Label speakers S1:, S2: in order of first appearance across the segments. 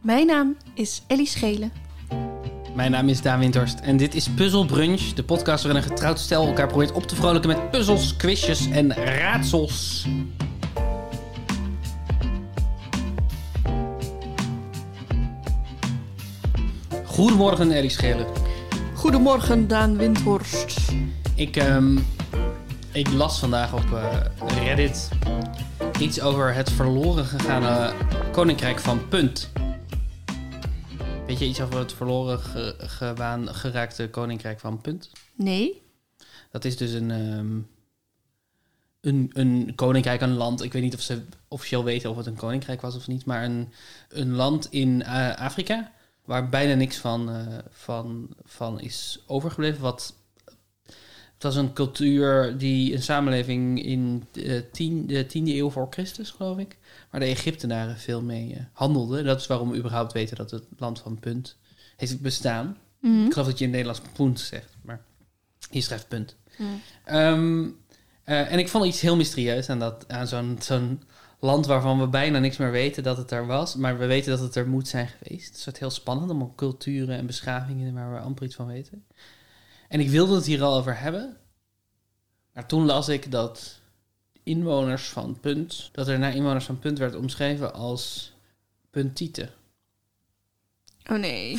S1: Mijn naam is Ellie Schelen.
S2: Mijn naam is Daan Winterst en dit is Puzzle Brunch, de podcast waarin een getrouwd stel elkaar probeert op te vrolijken met puzzels, quizjes en raadsels. Goedemorgen, Ellie Schelen.
S1: Goedemorgen, Daan Windhorst.
S2: Ik, ehm, ik las vandaag op eh, Reddit iets over het verloren gegaane koninkrijk van Punt. Weet je iets over het verloren ge- gewaan- geraakte koninkrijk van Punt?
S1: Nee?
S2: Dat is dus een, ehm, een, een koninkrijk, een land. Ik weet niet of ze officieel weten of het een koninkrijk was of niet. Maar een, een land in eh, Afrika waar bijna niks van, eh, van, van is overgebleven. Wat, het was een cultuur die een samenleving in de, eh, tien, de 10e eeuw voor Christus, geloof ik. Waar de Egyptenaren veel mee eh, handelden. Dat is waarom we überhaupt weten dat het land van Punt heeft bestaan.
S1: Mm-hmm. Hm?
S2: Ik geloof dat je in het Nederlands punt zegt, maar hier schrijft punt.
S1: Mm.
S2: Ehm, eh, en ik vond iets heel mysterieus aan, dat- aan zo'n zo'n land waarvan we bijna niks meer weten dat het er was, maar we weten dat het er moet zijn geweest. Een soort heel spannend, allemaal culturen en beschavingen waar we amper iets van weten. En ik wilde het hier al over hebben, maar toen las ik dat inwoners van Punt, dat er naar inwoners van Punt werd omschreven als puntieten.
S1: Oh nee.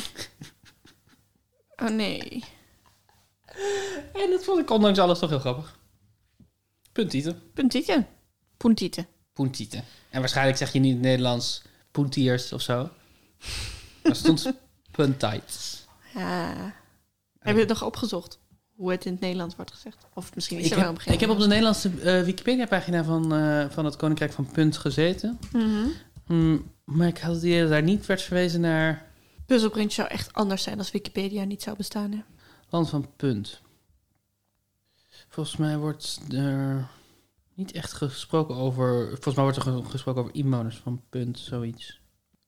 S1: Oh nee.
S2: En dat vond ik ondanks alles toch heel grappig. Puntieten.
S1: Puntieten. Puntieten.
S2: Puntieten. En waarschijnlijk zeg je niet in het Nederlands puntiers of zo. Maar stond puntites.
S1: Ja. Heb je het nog opgezocht? Hoe het in het Nederlands wordt gezegd? Of misschien is
S2: Ik
S1: er wel een
S2: heb,
S1: begin.
S2: ik heb op de Nederlandse eh, Wikipedia-pagina van, eh, van het Koninkrijk van Punt gezeten.
S1: Mhm.
S2: Mm, maar ik had het idee dat daar niet werd verwezen naar
S1: Puzzleprint zou echt anders zijn als Wikipedia niet zou bestaan. Hè?
S2: Land van Punt. Volgens mij wordt er niet echt gesproken over... Volgens mij wordt er ge- gesproken over inwoners van Punt, zoiets.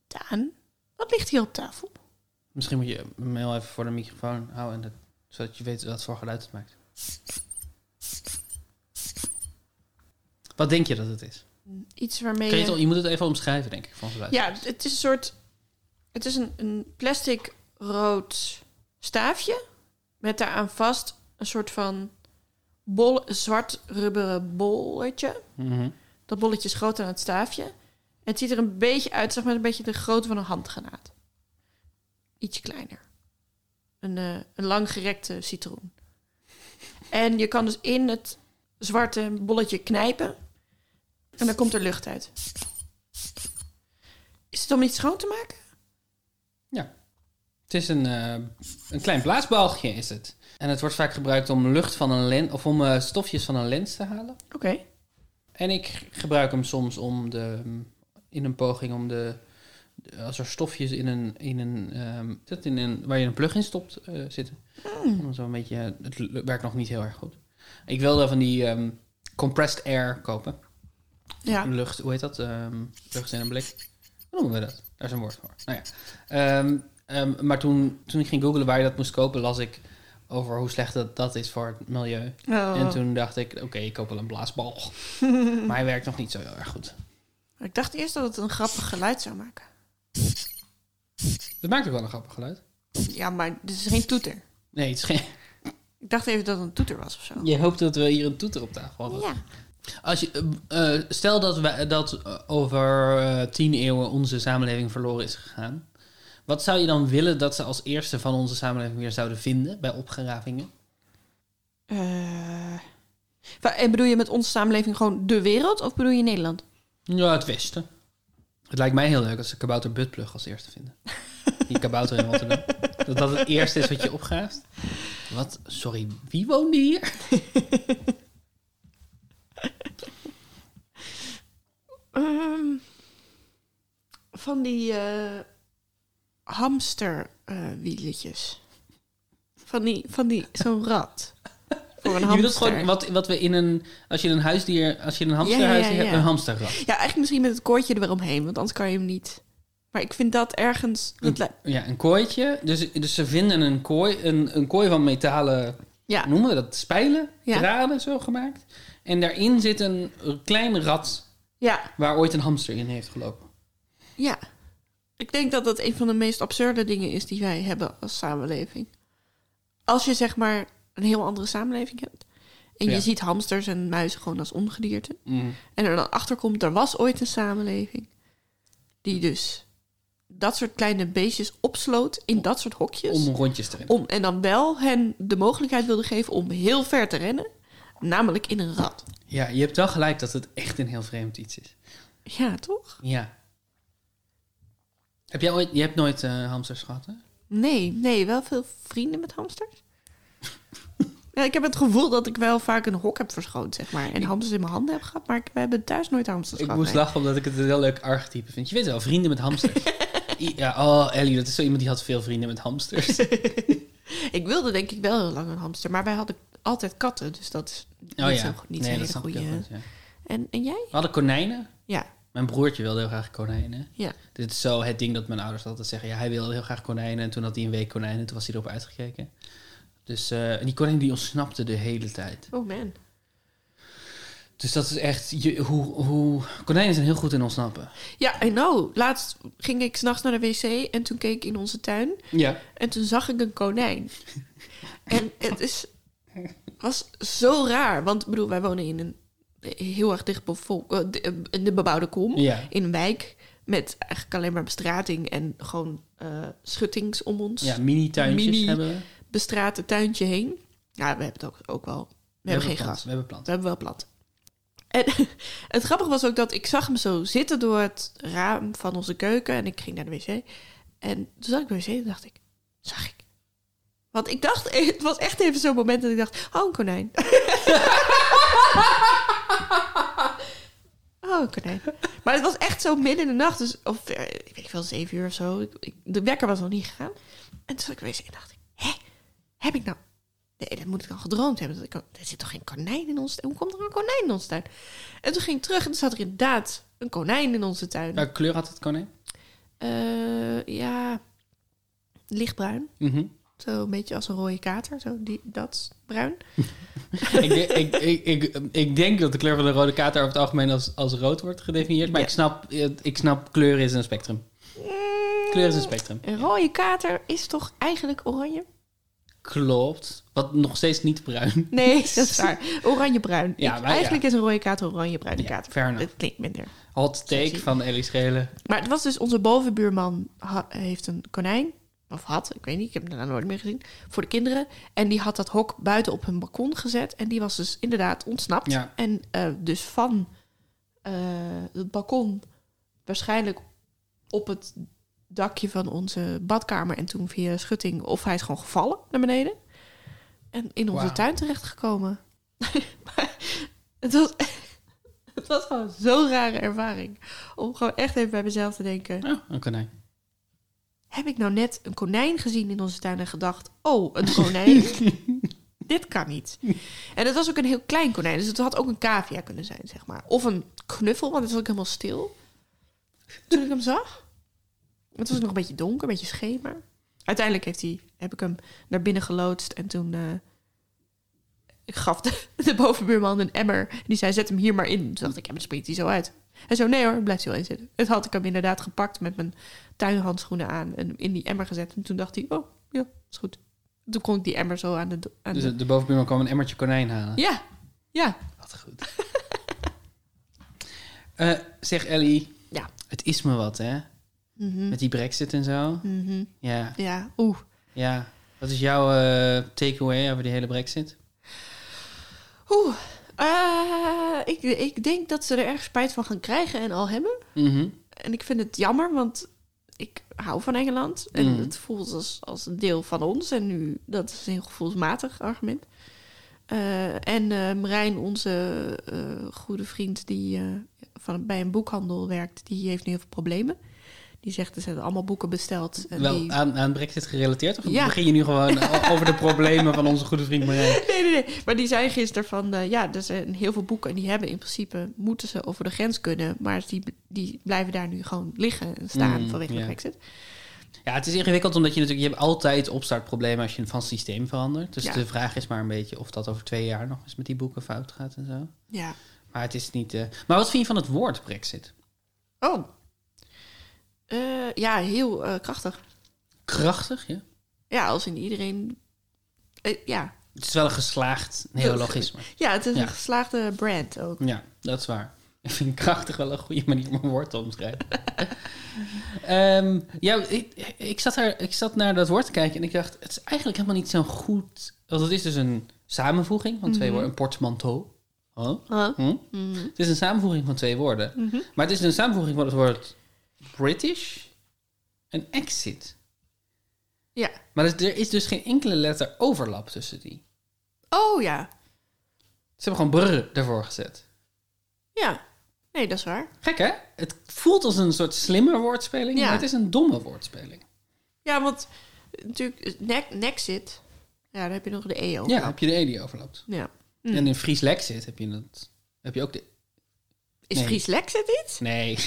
S1: Daan, wat ligt hier op tafel?
S2: Misschien moet je hem heel even voor de microfoon houden... En dat, zodat je weet wat voor geluid het maakt. Wat denk je dat het is?
S1: Iets waarmee
S2: Kun je,
S1: je-
S2: het- je moet het even omschrijven, denk ik, van geluid.
S1: eh. Ja, het is een soort. Het is een, een plastic rood staafje. Met daaraan vast een soort van bol, zwart rubberen bolletje.
S2: Mhm.
S1: Dat bolletje is groter dan het staafje. En het ziet er een beetje uit, zeg maar, een beetje de grootte van een handgranaat. Ietsje kleiner. Een, eh, een langgerekte citroen. En je kan dus in het zwarte bolletje knijpen. En dan komt er lucht uit. Is het om iets schoon te maken?
S2: Het is een, eh, een klein blaasbalgje, is het. En het wordt vaak gebruikt om lucht van een lens... of om eh, stofjes van een lens te halen.
S1: Oké.
S2: En ik gebruik hem soms om de, in een poging om de, als er stofjes in een, in een, ehm, dat in een waar je een plug in stopt eh, zitten. Om zo een beetje, het l- werkt nog niet heel erg goed. Ik wilde van die ehm, compressed air kopen.
S1: Ja.
S2: Lucht, hoe heet dat? Ehm, lucht in een blik. Hoe noemen we dat? Daar is een woord voor. Nou ja. Ehm, ehm, maar toen, toen ik ging googlen waar je dat moest kopen, las ik over hoe slecht dat, dat is voor het milieu.
S1: Oh.
S2: En toen dacht ik, oké, ik koop wel een blaasbal. maar hij werkt nog niet zo heel erg goed.
S1: Ik dacht eerst dat het een grappig geluid zou maken.
S2: Dat maakt ook wel een grappig geluid.
S1: Ja, maar dit is geen toeter.
S2: Nee, het is geen...
S1: Ik dacht even dat het een toeter was of zo.
S2: Je hoopt dat we hier een toeter op tafel hadden.
S1: Ja.
S2: Als je, eh, eh, stel dat, we, dat eh, over eh, tien eeuwen onze samenleving verloren is gegaan. Wat zou je dan willen dat ze als eerste van onze samenleving weer zouden vinden bij opgravingen?
S1: Eh, wa- en bedoel je met onze samenleving gewoon de wereld of bedoel je Nederland?
S2: Ja, het Westen. Het lijkt mij heel leuk als ze kabouter Butplug als eerste vinden. Die kabouter in Rotterdam. Dat dat het eerste is wat je opgraaft. Wat? Sorry, wie woonde hier?
S1: Ehm, van die eh, hamsterwieletjes. van die, van die zo'n rat. Voor een
S2: Je bedoelt
S1: hamster.
S2: gewoon wat, wat we in een... Als je een huisdier... Als je een hamsterhuis
S1: Ja, ja, ja.
S2: hebt, een hamsterrat.
S1: Ja, eigenlijk misschien met het koortje er weer omheen, want anders kan je hem niet. Maar ik vind dat ergens... dat li-
S2: Ja, een kooitje. Dus, dus ze vinden een kooi, een, een kooi van metalen,
S1: ja,
S2: noemen we dat, spijlen,
S1: Ja.
S2: draden zo gemaakt. En daarin zit een klein rat
S1: ja,
S2: waar ooit een hamster in heeft gelopen.
S1: ja. Ik denk dat dat een van de meest absurde dingen is die wij hebben als samenleving. Als je zeg maar een heel andere samenleving hebt. En
S2: Ja.
S1: je ziet hamsters en muizen gewoon als ongedierte.
S2: Mm.
S1: En er dan achter komt, er was ooit een samenleving. Die dus dat soort kleine beestjes opsloot in dat soort hokjes.
S2: Om rondjes te rennen.
S1: Om, en dan wel hen de mogelijkheid wilde geven om heel ver te rennen. Namelijk in een rad.
S2: Ja, je hebt wel gelijk dat het echt een heel vreemd iets is.
S1: Ja, toch?
S2: Ja. Heb jij ooit, je hebt nooit eh, hamsters gehad, hè?
S1: Nee, nee, wel veel vrienden met hamsters. ja, ik heb het gevoel dat ik wel vaak een hok heb verschoond, zeg maar. En hamsters in mijn handen heb gehad, maar ik, we hebben thuis nooit hamsters
S2: Ik
S1: gehad.
S2: moest
S1: nee.
S2: lachen omdat ik het een heel leuk archetype vind. Je weet wel, vrienden met hamsters. I- ja, oh Ellie, dat is zo iemand die had veel vrienden met hamsters.
S1: Ik wilde denk ik wel heel lang een hamster, maar wij hadden altijd katten, dus dat is niet
S2: Oh
S1: zo
S2: ja,
S1: goed. Niet
S2: nee,
S1: zo'n hele
S2: dat snap ik heel
S1: goede-
S2: goed, ja.
S1: En, en jij?
S2: We hadden konijnen.
S1: Ja,
S2: Mijn broertje wilde heel graag konijnen.
S1: ja.
S2: Dit is zo het ding dat mijn ouders altijd zeggen. Ja, hij wilde heel graag konijnen. En toen had hij een week konijnen. En toen was hij erop uitgekeken. Dus eh, en die konijn die ontsnapte de hele tijd.
S1: Oh man.
S2: Dus dat is echt... Je, hoe, hoe, konijnen zijn heel goed in ontsnappen.
S1: Ja, I know. Laatst ging ik s'nachts naar de wc en toen keek ik in onze tuin
S2: Ja.
S1: en toen zag ik een konijn. en het is, was zo raar, want ik bedoel, wij wonen in een heel erg dicht bevolk, eh, de- eh, in de bebouwde kom,
S2: Ja.
S1: in een wijk met eigenlijk alleen maar bestrating en gewoon eh, schuttings om ons.
S2: Ja, mini-tuintjes
S1: Mini-
S2: hebben we.
S1: Bestraten tuintje heen. Ja, we hebben het ook, ook wel. We, hebben geen
S2: planten,
S1: gras.
S2: We hebben planten.
S1: We hebben wel plat. En het grappige was ook dat ik zag hem zo zitten door het raam van onze keuken. En ik ging naar de wc. En toen zat ik bij de wc en dacht ik, zag ik. Want ik dacht, het was echt even zo'n moment dat ik dacht, oh, een konijn. oh, een konijn. Maar het was echt zo midden in de nacht. Dus, of eh, ik weet wel, zeven uur of zo. Ik- ik- de wekker was nog niet gegaan. En toen zat ik bij de wc en dacht ik, hè, heb ik nou Nee, dat moet ik al gedroomd hebben. Dat ik, al- er zit toch geen konijn in ons tuin? Hoe komt er een konijn in ons tuin? En toen ging ik terug en toen zat er inderdaad een konijn in onze tuin. Ja,
S2: Welke kleur had het konijn?
S1: ja lichtbruin.
S2: Mhm.
S1: Zo een beetje als een rode kater. Zo die, dat bruin.
S2: ik, de- ik, ik, ik, ik denk dat de kleur van de rode kater over het algemeen als, als rood wordt gedefinieerd. Maar
S1: Ja.
S2: ik, snap, eh, ik snap, kleur is een spectrum. Kleur is een spectrum.
S1: Een rode kater is toch eigenlijk oranje?
S2: Klopt. Wat nog steeds niet bruin.
S1: Nee, dat is waar. Oranje-bruin.
S2: Ja,
S1: Ik-
S2: maar ja.
S1: eigenlijk is een rode kater een oranje-bruine
S2: Ja,
S1: kater.
S2: fair enough.
S1: Dat klinkt minder.
S2: Hot take
S1: Sexy.
S2: van Ellie Schelen.
S1: Maar het was dus onze bovenbuurman ha- heeft een konijn. Of had, ik weet niet, ik heb hem daarna nooit meer gezien. Voor de kinderen. En die had dat hok buiten op hun balkon gezet. En die was dus inderdaad ontsnapt.
S2: Ja.
S1: En eh, dus van eh, het balkon waarschijnlijk op het dakje van onze badkamer. En toen via schutting, of hij is gewoon gevallen naar beneden. En in onze
S2: Wauw.
S1: tuin terechtgekomen. Maar het was, het was gewoon zo'n rare ervaring. Om gewoon echt even bij mezelf te denken.
S2: Oh, een konijn.
S1: Heb ik nou net een konijn gezien in onze tuin en gedacht... Oh, een konijn? Dit kan niet. En het was ook een heel klein konijn. Dus het had ook een cavia kunnen zijn, zeg maar. Of een knuffel, want het was ook helemaal stil. Toen ik hem zag. Het was nog een beetje donker, een beetje schemer. Uiteindelijk heeft hij, heb ik hem naar binnen geloodst. En toen eh, ik gaf de, de bovenbuurman een emmer. En die zei, zet hem hier maar in. Toen dacht ik, ja, maar dan springt hij zo uit. Hij zo, nee hoor, blijft hij wel in zitten. Het had ik hem inderdaad gepakt met mijn tuinhandschoenen aan. En in die emmer gezet. En toen dacht hij, oh, ja, is goed. Toen kon ik die emmer zo aan de... do- Aan
S2: Dus
S1: de-
S2: de bovenbuurman kwam een emmertje konijn halen.
S1: ja, ja.
S2: Wat goed. Eh, zeg Ellie.
S1: Ja.
S2: Het is me wat, hè?
S1: Mhm.
S2: Met die brexit en zo.
S1: Mhm.
S2: Ja.
S1: Ja, oeh.
S2: Ja. Wat is jouw eh, takeaway over die hele brexit?
S1: Oeh. Eh, ik, ik denk dat ze er erg spijt van gaan krijgen en al hebben.
S2: Mhm.
S1: En ik vind het jammer, want ik hou van Engeland. En
S2: Mhm.
S1: het voelt als, als een deel van ons. En nu, dat is een heel gevoelsmatig argument. Eh, en eh, Marijn, onze eh, goede vriend die eh, van, bij een boekhandel werkt, die heeft nu heel veel problemen. Die zegt, er zijn allemaal boeken besteld. En
S2: Wel
S1: Eh, die...
S2: aan, aan brexit gerelateerd? Of
S1: Ja.
S2: begin je nu gewoon o- over de problemen van onze goede vriend Marijn?
S1: Nee, nee, nee. Maar die zei gisteren van... eh, ja, er zijn heel veel boeken en die hebben in principe... moeten ze over de grens kunnen. Maar die, die blijven daar nu gewoon liggen en staan
S2: Mm,
S1: vanwege
S2: ja.
S1: de brexit.
S2: Ja, het is ingewikkeld omdat je natuurlijk... Je hebt altijd opstartproblemen als je van systeem verandert. Dus
S1: Ja.
S2: de vraag is maar een beetje of dat over twee jaar nog eens met die boeken fout gaat en zo.
S1: Ja.
S2: Maar het is niet... eh, Maar wat vind je van het woord brexit?
S1: Oh. Eh, Eh, ja, heel eh, krachtig.
S2: Krachtig, ja.
S1: Ja, als in iedereen... eh, ja.
S2: Het is wel een geslaagd neologisme.
S1: ja, het is
S2: Ja.
S1: een geslaagde brand ook.
S2: Ja, dat is waar. Ik vind krachtig wel een goede manier om een woord te omschrijven. Ehm, ja, ik, ik, zat er, ik zat naar dat woord te kijken en ik dacht, het is eigenlijk helemaal niet zo'n goed... Want het is dus een samenvoeging van twee woorden, een portmanteau. Huh?
S1: Huh?
S2: Hm?
S1: Mhm.
S2: Het is een samenvoeging van twee woorden. Maar het is een samenvoeging van het woord British en exit.
S1: Ja.
S2: Maar er is- er is dus geen enkele letter overlap tussen die.
S1: Oh ja.
S2: Ze hebben gewoon brr ervoor gezet.
S1: Ja. Nee, dat is waar.
S2: Gek hè? Het voelt als een soort slimme woordspeling,
S1: Ja.
S2: maar het is een domme woordspeling.
S1: Ja, want natuurlijk, eh, ne Nexit, ja, daar heb je nog de EO.
S2: Ja, heb je de E die overlapt.
S1: ja.
S2: En in Fries Lexit heb je, dat, heb je ook de...
S1: Is
S2: Nee.
S1: Fries Lexit iets?
S2: Nee.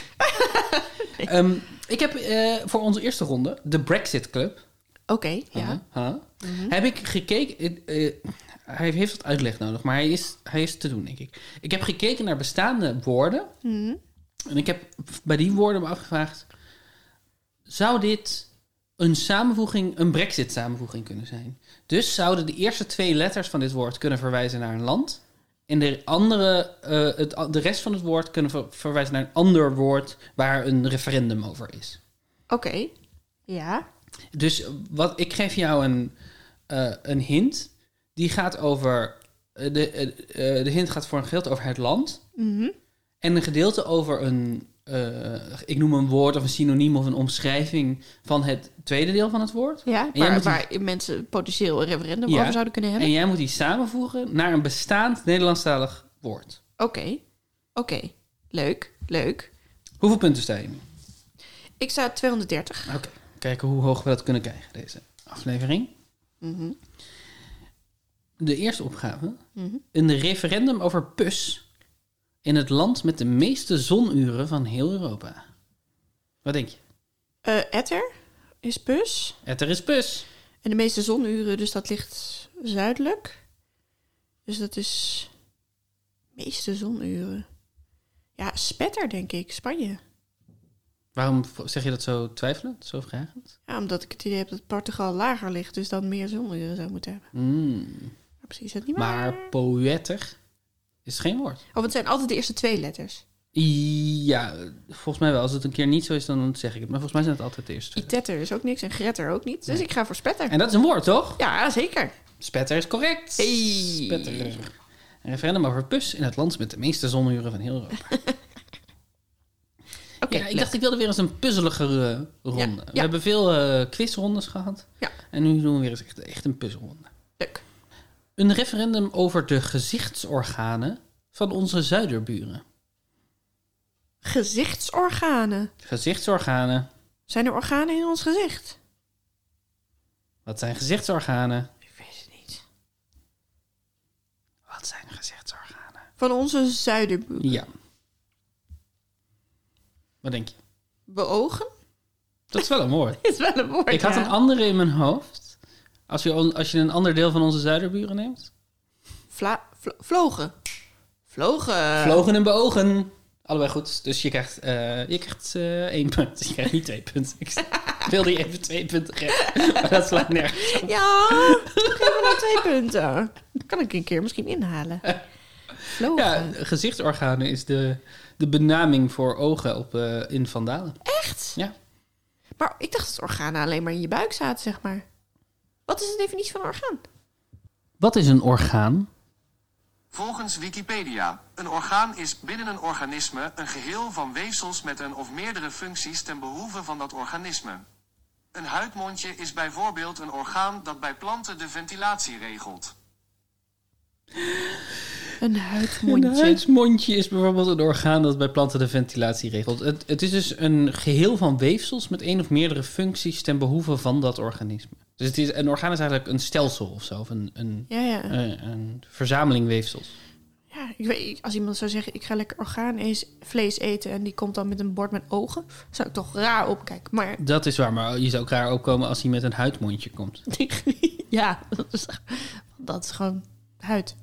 S2: Ehm, ik heb eh, voor onze eerste ronde de Brexit Club.
S1: Oké, ja.
S2: Ja. Heb ik gekeken... eh, eh, hij heeft wat uitleg nodig, maar hij is, hij is te doen, denk ik. Ik heb gekeken naar bestaande woorden. En ik heb bij die woorden me afgevraagd... Zou dit een samenvoeging, een brexit-samenvoeging kunnen zijn? Dus zouden de eerste twee letters van dit woord kunnen verwijzen naar een land... En de, andere, eh, het, a- de rest van het woord kunnen ver- verwijzen naar een ander woord waar een referendum over is.
S1: Oké. Ja.
S2: Dus wat, ik geef jou een, eh, een hint. Die gaat over. eh, De, eh, eh, de hint gaat voor een gedeelte over het land. En een gedeelte over een. eh, ik noem een woord of een synoniem of een omschrijving van het tweede deel van het woord.
S1: ja
S2: jij
S1: waar,
S2: moet die-
S1: waar mensen potentieel een referendum
S2: Ja.
S1: over zouden kunnen hebben.
S2: En jij moet die samenvoegen naar een bestaand Nederlandstalig woord.
S1: Oké. Oké. Leuk. Leuk.
S2: Hoeveel punten sta je nu?
S1: Ik sta 230.
S2: Oké, kijken hoe hoog we dat kunnen krijgen, deze aflevering.
S1: Mhm.
S2: De eerste opgave.
S1: Mhm.
S2: Een referendum over PUS in het land met de meeste zonuren van heel Europa. Wat denk je?
S1: Eh, Etter is bus.
S2: Het er is PUS.
S1: En de meeste zonuren, dus dat ligt zuidelijk. Dus dat is... Meeste zonuren. Ja, Spetter, denk ik. Spanje.
S2: Waarom v- zeg je dat zo twijfelend, zo vragend?
S1: Ja, omdat ik het idee heb dat Portugal lager ligt, dus dan meer zonuren zou moeten hebben.
S2: Mm,
S1: Maar precies, is dat niet waar.
S2: Maar poëtter is geen woord.
S1: Oh, het zijn altijd de eerste twee letters.
S2: I- Ja, volgens mij wel. Als het een keer niet zo is, dan zeg ik het. Maar volgens mij zijn het altijd de eerste. twee.
S1: Itetter is ook niks en Gretter ook niet. Dus ik ga voor spetter.
S2: En dat is een woord, toch?
S1: Ja, zeker.
S2: Spetter is correct.
S1: Hey.
S2: Spetter. Een referendum over PUS in het land met de meeste zonuren van heel Europa.
S1: Oké,
S2: ja, ik
S1: leuk.
S2: dacht, ik wilde weer eens een puzzeligere eh, ronde.
S1: nou. Ja,
S2: We
S1: ja.
S2: hebben veel eh, quizrondes gehad.
S1: Ja.
S2: En nu doen we weer eens echt, echt een puzzelronde.
S1: leuk.
S2: Een referendum over de gezichtsorganen van onze zuiderburen.
S1: Gezichtsorganen.
S2: Gezichtsorganen.
S1: Zijn er organen in ons gezicht?
S2: Wat zijn gezichtsorganen?
S1: Ik weet het niet.
S2: Wat zijn gezichtsorganen?
S1: Van onze zuiderbuur.
S2: Ja. Wat denk je?
S1: Beogen?
S2: Dat is wel een woord.
S1: Is wel een woord,
S2: Ik had
S1: ja.
S2: een andere in mijn hoofd. Als je, on- als je een ander deel van onze zuiderburen neemt.
S1: Vla- vlo- vlogen. Vlogen.
S2: Vlogen en beogen. Allebei goed. Dus je krijgt, eh, je krijgt eh, één punt. Je krijgt niet twee punten. Ik wilde je even twee punten geven. Maar dat slaat nergens.
S1: Ja, geef me nou twee punten. Kan ik een keer misschien inhalen. Vlogen.
S2: Ja, gezichtsorganen is de, de benaming voor ogen op, eh, in Vandalen.
S1: Echt?
S2: Ja.
S1: Maar ik dacht dat organen alleen maar in je buik zaten, zeg maar. Wat is de definitie van een orgaan?
S2: Wat is een orgaan?
S3: Volgens Wikipedia, een orgaan is binnen een organisme een geheel van weefsels met een of meerdere functies ten behoeve van dat organisme. Een huidmondje is bijvoorbeeld een orgaan dat bij planten de ventilatie regelt.
S1: Een huidmondje.
S2: Een huidsmondje is bijvoorbeeld een orgaan dat bij planten de ventilatie regelt. Het, het is dus een geheel van weefsels met één of meerdere functies ten behoeve van dat organisme. Dus het is, een orgaan is eigenlijk een stelsel of zo. Of een, een,
S1: Ja, ja.
S2: eh, een verzameling weefsels.
S1: ja ik weet, als iemand zou zeggen, ik ga lekker orgaan eens- vlees eten... en die komt dan met een bord met ogen, zou ik toch raar opkijken. Maar
S2: Dat is waar, maar je zou ook raar opkomen als hij met een huidmondje komt.
S1: ja, dat is, dat is gewoon huid.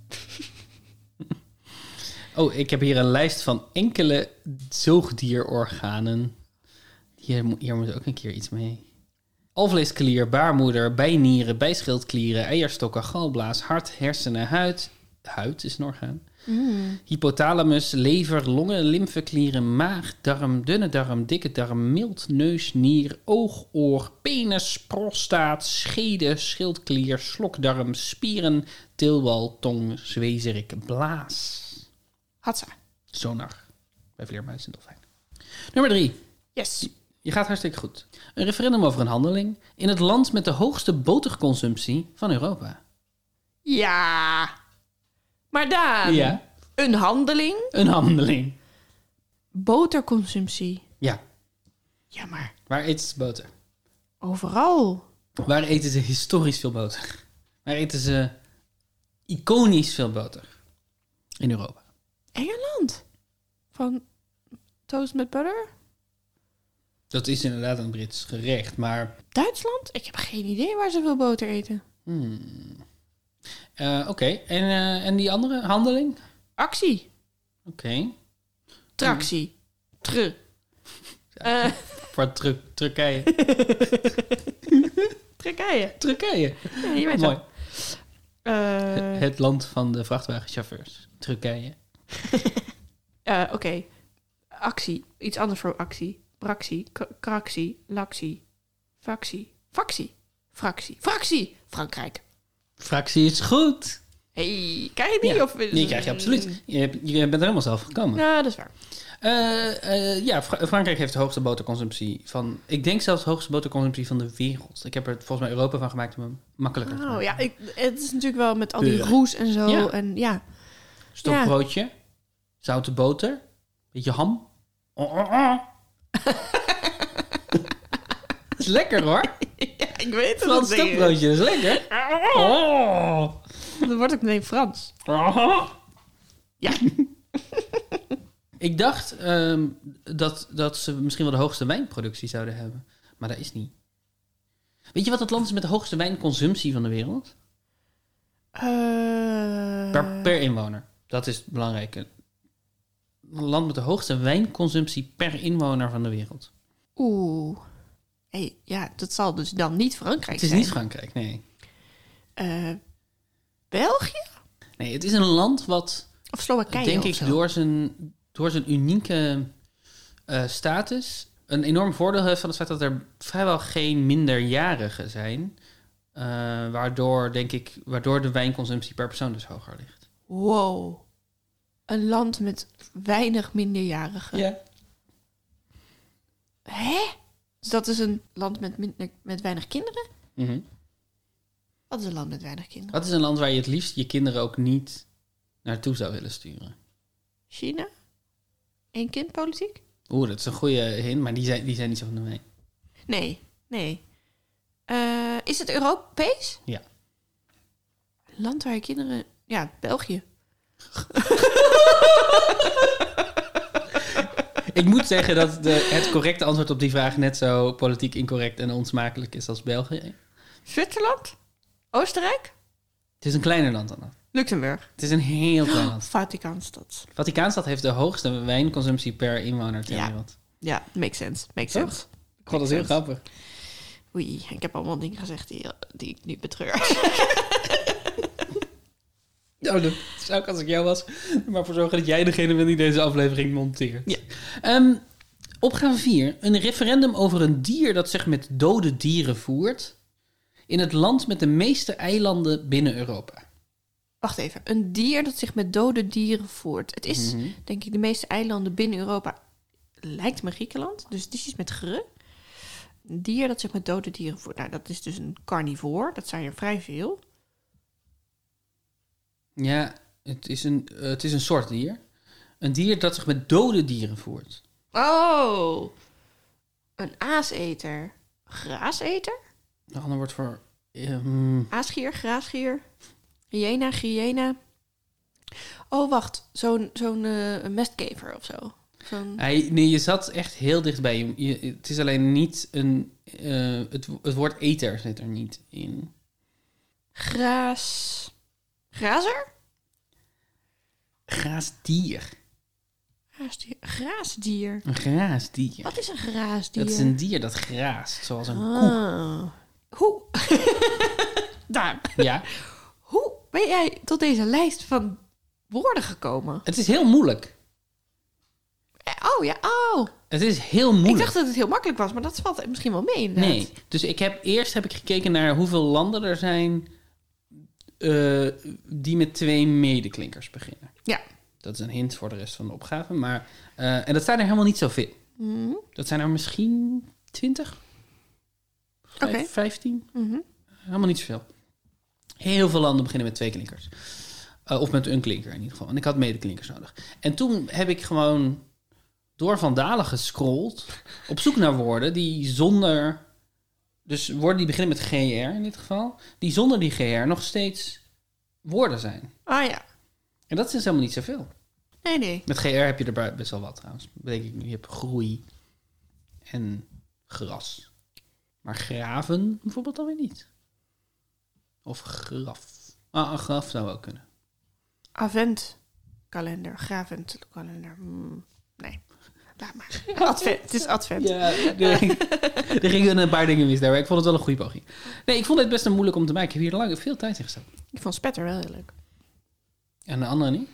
S2: Oh, ik heb hier een lijst van enkele zoogdierorganen. Hier, mo- hier moet ook een keer iets mee. Alvleesklier, baarmoeder, bijnieren, bijschildklieren, eierstokken, galblaas, hart, hersenen, huid. Huid is een orgaan. Hypothalamus, lever, longen, lymfeklieren, maag, darm, dunne darm, dikke darm, mild, neus, nier, oog, oor, penis, prostaat, schede, schildklier, slokdarm, spieren, tilwal, tong, zwezerik, blaas.
S1: Hatsa.
S2: Sonar bij vleermuis en dolfijn. Nummer drie.
S1: Yes.
S2: Je gaat hartstikke goed. Een referendum over een handeling in het land met de hoogste boterconsumptie van Europa.
S1: Ja. Maar Daan,
S2: ja.
S1: een handeling,
S2: Een handeling.
S1: boterconsumptie.
S2: Ja.
S1: Ja, maar
S2: Waar eten ze boter?
S1: overal.
S2: Waar eten ze historisch veel boter? Waar eten ze iconisch veel boter? In Europa.
S1: Engeland. Van toast met butter?
S2: Dat is inderdaad een Brits gerecht, maar...
S1: Duitsland? Ik heb geen idee waar ze veel boter eten.
S2: hmm. eh, Oké, en, eh, en die andere handeling?
S1: Actie.
S2: Oké.
S1: Tractie. Tru.
S2: Mm.
S1: Eh,
S2: Voor Turk- Turkije.
S1: Turkije.
S2: Turkije.
S1: Ja, je weet
S2: Mooi.
S1: wel. Eh,
S2: Het land van de vrachtwagenchauffeurs. Turkije.
S1: eh, Oké. Actie. Iets anders voor actie. Bractie. K- Kractie. Laxie. Factie. Factie. Fractie. Fractie. Frankrijk.
S2: Fractie is goed.
S1: hey, krijg je die?
S2: Ja,
S1: of, Hmm.
S2: Die krijg je absoluut. Je, hebt- je bent er helemaal zelf gekomen.
S1: Ja, dat is waar.
S2: Eh, eh, ja, Fra- Frankrijk heeft de hoogste boterconsumptie van... Ik denk zelfs de hoogste boterconsumptie van de wereld. Ik heb er volgens mij Europa van gemaakt om hem makkelijker te
S1: Oh,
S2: maken.
S1: ja, ik, het is natuurlijk wel met al die
S2: Deuren.
S1: roes en zo.
S2: Ja.
S1: En ja,
S2: Stokbroodje, zoute boter, beetje ham. Oh, oh, oh. dat is lekker hoor.
S1: ik weet het
S2: Frans stokbroodje, dat is lekker. Oh.
S1: Dan wordt ook meteen Frans. Ja.
S2: Ik dacht ehm, dat, dat ze misschien wel de hoogste wijnproductie zouden hebben. Maar dat is niet. Weet je wat het land is met de hoogste wijnconsumptie van de wereld?
S1: Eh,
S2: Per, per inwoner. Dat is belangrijk. Een land met de hoogste wijnconsumptie per inwoner van de wereld.
S1: Oeh. Hey, ja, dat zal dus dan niet Frankrijk
S2: Het is
S1: zijn.
S2: niet Frankrijk, nee.
S1: Eh, België?
S2: Nee, het is een land wat,
S1: Of Slowakije?
S2: denk
S1: of
S2: ik,
S1: zo.
S2: door zijn, door zijn unieke eh, status... een enorm voordeel heeft van het feit dat er vrijwel geen minderjarigen zijn... eh, waardoor, denk ik, waardoor de wijnconsumptie per persoon dus hoger ligt.
S1: Wow. Een land met weinig minderjarigen. Hè? Dus dat is een land met, minder, met weinig kinderen?
S2: Mhm.
S1: Wat is een land met weinig kinderen?
S2: Wat is een land waar je het liefst je kinderen ook niet naartoe zou willen sturen?
S1: China? Eén kind politiek?
S2: Oeh, dat is een goede hint, maar die zijn, die zijn niet zo van de mij.
S1: Nee, nee. Eh, is het Europees?
S2: Ja.
S1: Een land waar je kinderen... Ja, België.
S2: Ik moet zeggen dat de, het correcte antwoord op die vraag net zo politiek incorrect en onsmakelijk is als België.
S1: Zwitserland? Oostenrijk?
S2: Het is een kleiner land dan dat.
S1: Luxemburg?
S2: Het is een heel klein land.
S1: Vaticaanstad.
S2: Vaticaanstad heeft de hoogste wijnconsumptie per inwoner ter
S1: Ja.
S2: wereld.
S1: Ja, makes sense. Makes
S2: Toch?
S1: sense.
S2: Ik vond dat heel
S1: Makes sense.
S2: grappig.
S1: Oei, ik heb allemaal dingen gezegd die, die ik nu betreur.
S2: Nou, dat zou ik als ik jou was. Maar voor zorgen dat jij degene bent die deze aflevering monteert.
S1: Ja.
S2: Ehm, opgave 4. Een referendum over een dier dat zich met dode dieren voert. In het land met de meeste eilanden binnen Europa.
S1: Wacht even. Een dier dat zich met dode dieren voert. Het is, denk ik, de meeste eilanden binnen Europa. Lijkt me Griekenland. Dus het is iets met gre. Een dier dat zich met dode dieren voert. Nou, dat is dus een carnivoor. Dat zijn er vrij veel.
S2: Ja, het is een, eh, het is een soort dier. Een dier dat zich met dode dieren voert.
S1: Oh! Een aaseter. Graaseter?
S2: De ander wordt voor... ehm,
S1: Aasgier, graasgier. Hyena, hyena. Oh, wacht. Zo'n zo'n eh, mestkever of zo. Zo'n...
S2: Hij, nee, je zat echt heel dichtbij. Je- je- het is alleen niet een. eh, het, wo- het woord eter zit er niet in.
S1: Graas. Grazer?
S2: Graasdier.
S1: graasdier? Graasdier.
S2: Een graasdier.
S1: Wat is een graasdier?
S2: Dat is een dier dat graast, zoals een koe.
S1: Ah. Hoe? Daar.
S2: Ja.
S1: Hoe ben jij tot deze lijst van woorden gekomen?
S2: Het is heel moeilijk.
S1: Eh, Oh ja, oh.
S2: Het is heel moeilijk.
S1: Ik dacht dat het heel makkelijk was, maar dat valt misschien wel mee inderdaad.
S2: Nee, dus ik heb eerst heb ik gekeken naar hoeveel landen er zijn eh, die met twee medeklinkers beginnen.
S1: Ja.
S2: Dat is een hint voor de rest van de opgave, maar eh, en dat zijn er helemaal niet zoveel.
S1: Mhm.
S2: Dat zijn er misschien 20,
S1: Oké.
S2: 15,
S1: Mhm.
S2: helemaal niet zoveel. Heel veel landen beginnen met twee klinkers. Eh, of met een klinker in ieder geval. En ik had medeklinkers nodig. En toen heb ik gewoon door Vandalen gescrolld. Op zoek naar woorden die zonder. Dus woorden die beginnen met GR in dit geval. Die zonder die GR nog steeds woorden zijn.
S1: Ah ja.
S2: En dat is dus helemaal niet zoveel.
S1: Nee, nee.
S2: Met GR heb je er bui- best wel wat trouwens. Bedenk ik nu. Je hebt groei en gras. Maar graven bijvoorbeeld dan weer niet. Of graf. Ah, een graf zou wel kunnen.
S1: Adventkalender, gravenkalender. Hmm. Nee. Laat maar. Advent. Het is advent.
S2: Ja, er, er gingen een paar dingen mis daar, maar ik vond het wel een goede poging. Nee, ik vond het best een moeilijk om te maken. Ik heb hier lang, veel tijd in gestoken.
S1: Ik vond spetter wel heel leuk.
S2: En de andere niet.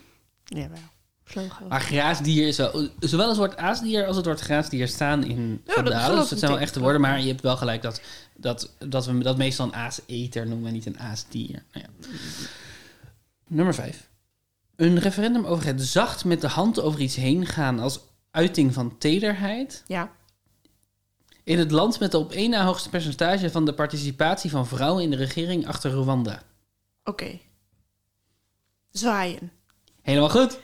S1: Jawel. Slogan.
S2: Maar graasdier is wel... Zowel het woord aasdier als het woord graasdier staan in
S1: dat
S2: Van de
S1: geloof
S2: Halen. Dus
S1: ik
S2: dat zijn wel
S1: niet.
S2: echte woorden. Maar je hebt wel gelijk dat, dat, dat we dat meestal een aaseter noemen en niet een aasdier. Nou ja. Nummer vijf. Een referendum over het zacht met de hand over iets heen gaan als uiting van tederheid...
S1: Ja.
S2: In het land met de op één na hoogste percentage van de participatie van vrouwen in de regering achter Rwanda.
S1: Oké. Zwaaien.
S2: Helemaal goed.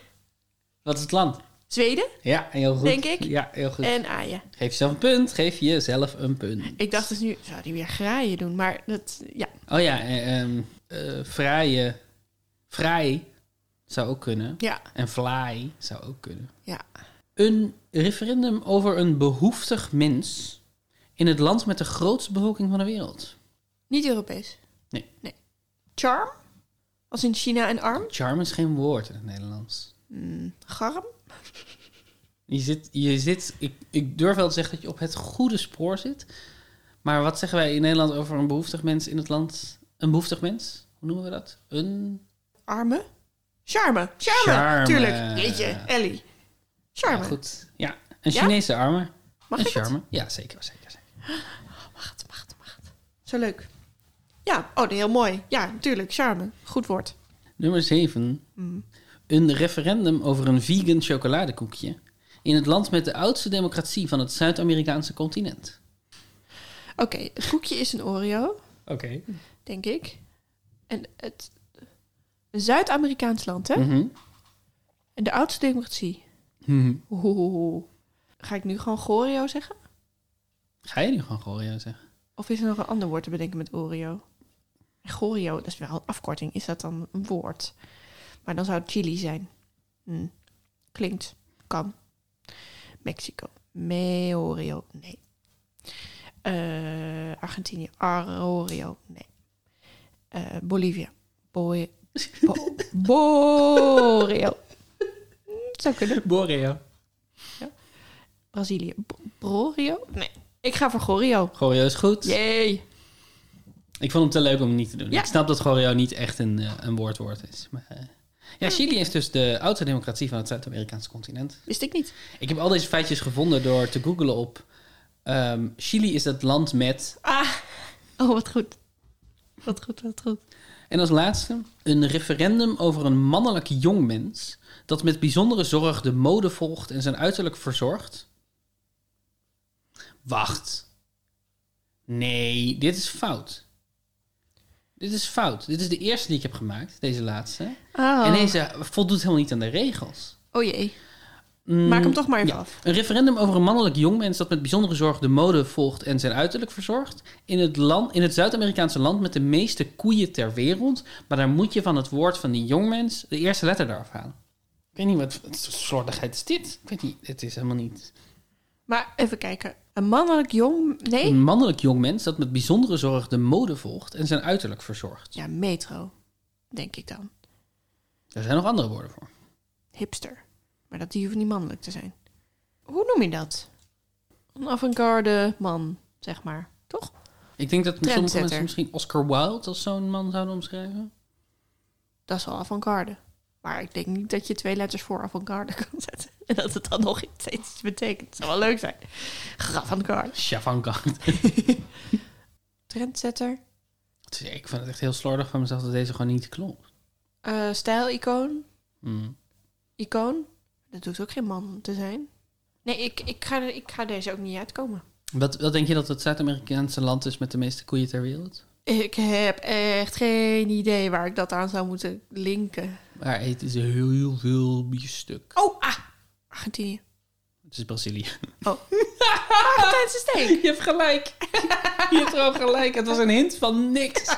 S2: Wat is het land?
S1: Zweden
S2: Ja, heel goed.
S1: Denk ik.
S2: Ja, heel goed.
S1: en aaien.
S2: Geef jezelf een punt. Geef jezelf een punt.
S1: Ik dacht dus nu, zou die weer graaien doen? Maar dat, ja.
S2: Oh ja, eh, ehm, eh, fraaie. Fraai zou ook kunnen.
S1: Ja.
S2: En vlaai zou ook kunnen.
S1: Ja.
S2: Een referendum over een behoeftig mens in het land met de grootste bevolking van de wereld.
S1: Niet Europees.
S2: Nee.
S1: Nee. Charm? Als in China een arm?
S2: Charm is geen woord in het Nederlands.
S1: Garm?
S2: Je zit, je zit ik, ik durf wel te zeggen dat je op het goede spoor zit. Maar wat zeggen wij in Nederland over een behoeftig mens in het land? Een behoeftig mens? Hoe noemen we dat? Een.
S1: Armen? Charme. Charme.
S2: Charme.
S1: Tuurlijk. Jeetje, Ellie. Charme.
S2: Ja, goed. Ja, een
S1: Ja?
S2: Chinese arme.
S1: Mag
S2: een
S1: ik het?
S2: charme. Ja, zeker, zeker, zeker.
S1: Macht, macht, macht. Zo leuk. Ja, oh, heel mooi. Ja, natuurlijk. Charme. Goed woord.
S2: Nummer 7.
S1: Hmm.
S2: Een referendum over een vegan chocoladekoekje. In het land met de oudste democratie van het Zuid-Amerikaanse continent.
S1: Oké, het koekje is een Oreo,
S2: Oké.
S1: denk ik. En het... Een Zuid-Amerikaans land,
S2: Mhm.
S1: hè? En de oudste democratie.
S2: Mhm.
S1: Oeh. Ga ik nu gewoon Gorio zeggen?
S2: Ga je nu gewoon Gorio zeggen?
S1: Of is er nog een ander woord te bedenken met Oreo? Gorio, dat is wel een afkorting. Is dat dan een woord? Maar dan zou het chili zijn. Hm. Klinkt. Kan. Mexico. Meorio. Nee. Eh, Argentinië. Arorio. Nee. Eh, Bolivia. Boy. Bo- Boreo. Hm, Zou kunnen.
S2: Boreo.
S1: Brazilië. Bo- Brorio? Nee. Ik ga voor Gorio.
S2: Gorio is goed.
S1: Jee.
S2: Ik vond hem te leuk om hem niet te doen.
S1: Ja.
S2: Ik snap dat Gorio niet echt een, eh, een woordwoord is. Maar, eh, ja, Chili is dus de oudste democratie van het Zuid-Amerikaanse continent.
S1: Wist ik niet.
S2: Ik heb al deze feitjes gevonden door te googlen op... ehm, Chili is het land met...
S1: Ah. Oh, wat goed. Wat goed, wat goed.
S2: En als laatste, een referendum over een mannelijk jongmens... dat met bijzondere zorg de mode volgt en zijn uiterlijk verzorgt. Wacht. Nee, dit is fout. Dit is fout. Dit is de eerste die ik heb gemaakt, deze laatste.
S1: Oh,
S2: En deze voldoet helemaal niet aan de regels.
S1: oh jee.
S2: Mm,
S1: Maak hem toch maar even
S2: ja.
S1: af.
S2: Een referendum over een mannelijk jongmens dat met bijzondere zorg de mode volgt en zijn uiterlijk verzorgt. In het, land, in het Zuid-Amerikaanse land met de meeste koeien ter wereld. Maar daar moet je van het woord van die jongmens de eerste letter eraf halen. Ik weet niet, wat, wat voor slordigheid is dit? Ik weet niet, het is helemaal niet.
S1: Maar even kijken. Een mannelijk jong... Nee?
S2: Een mannelijk jongmens dat met bijzondere zorg de mode volgt en zijn uiterlijk verzorgt.
S1: Ja, metro. Denk ik dan.
S2: Er zijn nog andere woorden voor.
S1: Hipster. Maar Maar dat die hoeft niet mannelijk te zijn. Hoe noem je dat? Een avant-garde man, zeg maar. Toch?
S2: Ik denk dat sommige
S1: Trendsetter.
S2: mensen misschien Oscar Wilde als zo'n man zouden omschrijven.
S1: Dat is wel avant-garde. Maar ik denk niet dat je twee letters voor avant-garde kan zetten. En dat het dan nog iets iets betekent. zou wel leuk zijn. Avant-garde.
S2: Chavankant.
S1: Trendsetter.
S2: Dus ja, Ik vind het echt heel slordig van mezelf dat deze gewoon niet klopt.
S1: Eh, Stijlicoon.
S2: Mm.
S1: Icoon. Dat hoeft ook geen man te zijn. Nee, ik, ik, ga, ik ga deze ook niet uitkomen.
S2: Wat, wat denk je dat het Zuid-Amerikaanse land is met de meeste koeien ter wereld?
S1: Ik heb echt geen idee waar ik dat aan zou moeten linken.
S2: Waar eten ze heel veel biefstuk.
S1: Oh, ah! Oh. Argentinië.
S2: Het is Brazilië.
S1: Argentijnse steek.
S2: Je hebt gelijk. Je hebt gewoon gelijk. Het was een hint van niks.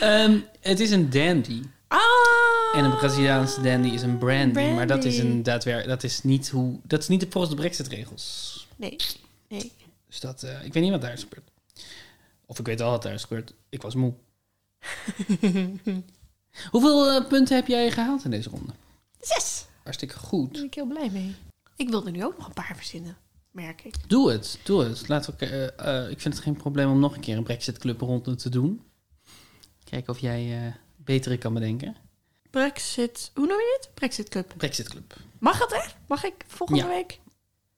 S2: Ehm, het is een dandy.
S1: Ah!
S2: En een Braziliaanse dandy is een brandy.
S1: Brandy.
S2: Maar dat is, een daadwer- dat is niet hoe. Dat is niet de volgens de Brexit-regels.
S1: Nee, nee.
S2: Dus dat. eh, ik weet niet wat daar is gebeurd. Of ik weet al wat daar is gebeurd. Ik was moe. Hoeveel eh, punten heb jij gehaald in deze ronde?
S1: Zes!
S2: Hartstikke
S1: Daar
S2: goed.
S1: ben ik heel blij mee. Ik wil er nu ook nog een paar verzinnen, merk ik.
S2: Doe het, doe het. Laten we, elkaar- eh, eh, ik vind het geen probleem om nog een keer een Brexit-club ronde te doen. Kijken of jij eh, betere kan bedenken.
S1: Brexit. Hoe noem je dit? Brexit Cup.
S2: Brexit-club,
S1: Mag dat echt? Mag ik volgende
S2: Ja.
S1: week?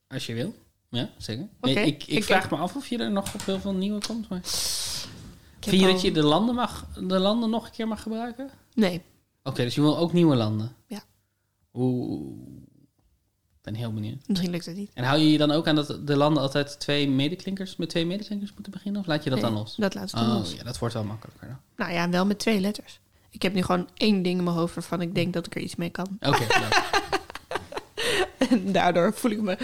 S2: als je wil. Ja, zeker. Nee,
S1: Oké.
S2: ik, ik
S1: Ik-
S2: vraag me af of je er nog op heel veel nieuwe komt. Maar...
S1: Ik heb
S2: Vind je
S1: al-
S2: dat je de landen, mag, de landen nog een keer mag gebruiken? Oké,
S1: Nee.
S2: dus je wil ook nieuwe landen?
S1: Ja.
S2: Oeh, ik ben heel benieuwd.
S1: Misschien lukt het niet.
S2: En hou je je dan ook aan dat de landen altijd twee medeklinkers, met twee medeklinkers moeten beginnen? Of laat je dat
S1: Nee,
S2: dan los?
S1: Dat laatste
S2: oh,
S1: los.
S2: ja, dat wordt wel makkelijker dan.
S1: Nou ja, wel met twee letters. Ik heb nu gewoon één ding in mijn hoofd waarvan ik denk dat ik er iets mee kan.
S2: Oké, leuk.
S1: En daardoor voel ik me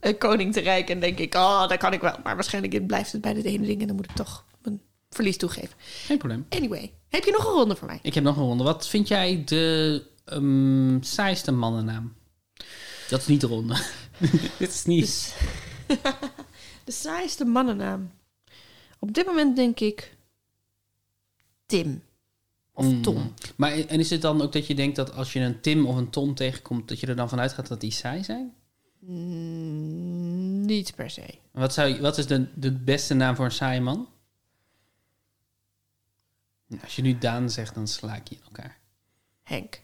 S1: eh, koning te rijk en denk ik, oh, dat kan ik wel. Maar waarschijnlijk blijft het bij dit ene ding en dan moet ik toch mijn verlies toegeven.
S2: geen probleem.
S1: Anyway, heb je nog een ronde voor mij?
S2: Ik heb nog een ronde. Wat vind jij de ehm, saaiste mannennaam? Dat is niet de ronde. Dit is niet.
S1: Dus, de saaiste mannennaam. Op dit moment denk ik Tim. Of
S2: Mm.
S1: Tom.
S2: Maar en is het dan ook dat je denkt dat als je een Tim of een Tom tegenkomt, dat je er dan vanuit gaat dat die saai zijn?
S1: Mm, niet per se.
S2: Wat, zou, je- wat is de, de beste naam voor een saaie man? Nou, Als je nu Daan zegt, dan sla ik je in elkaar.
S1: Henk.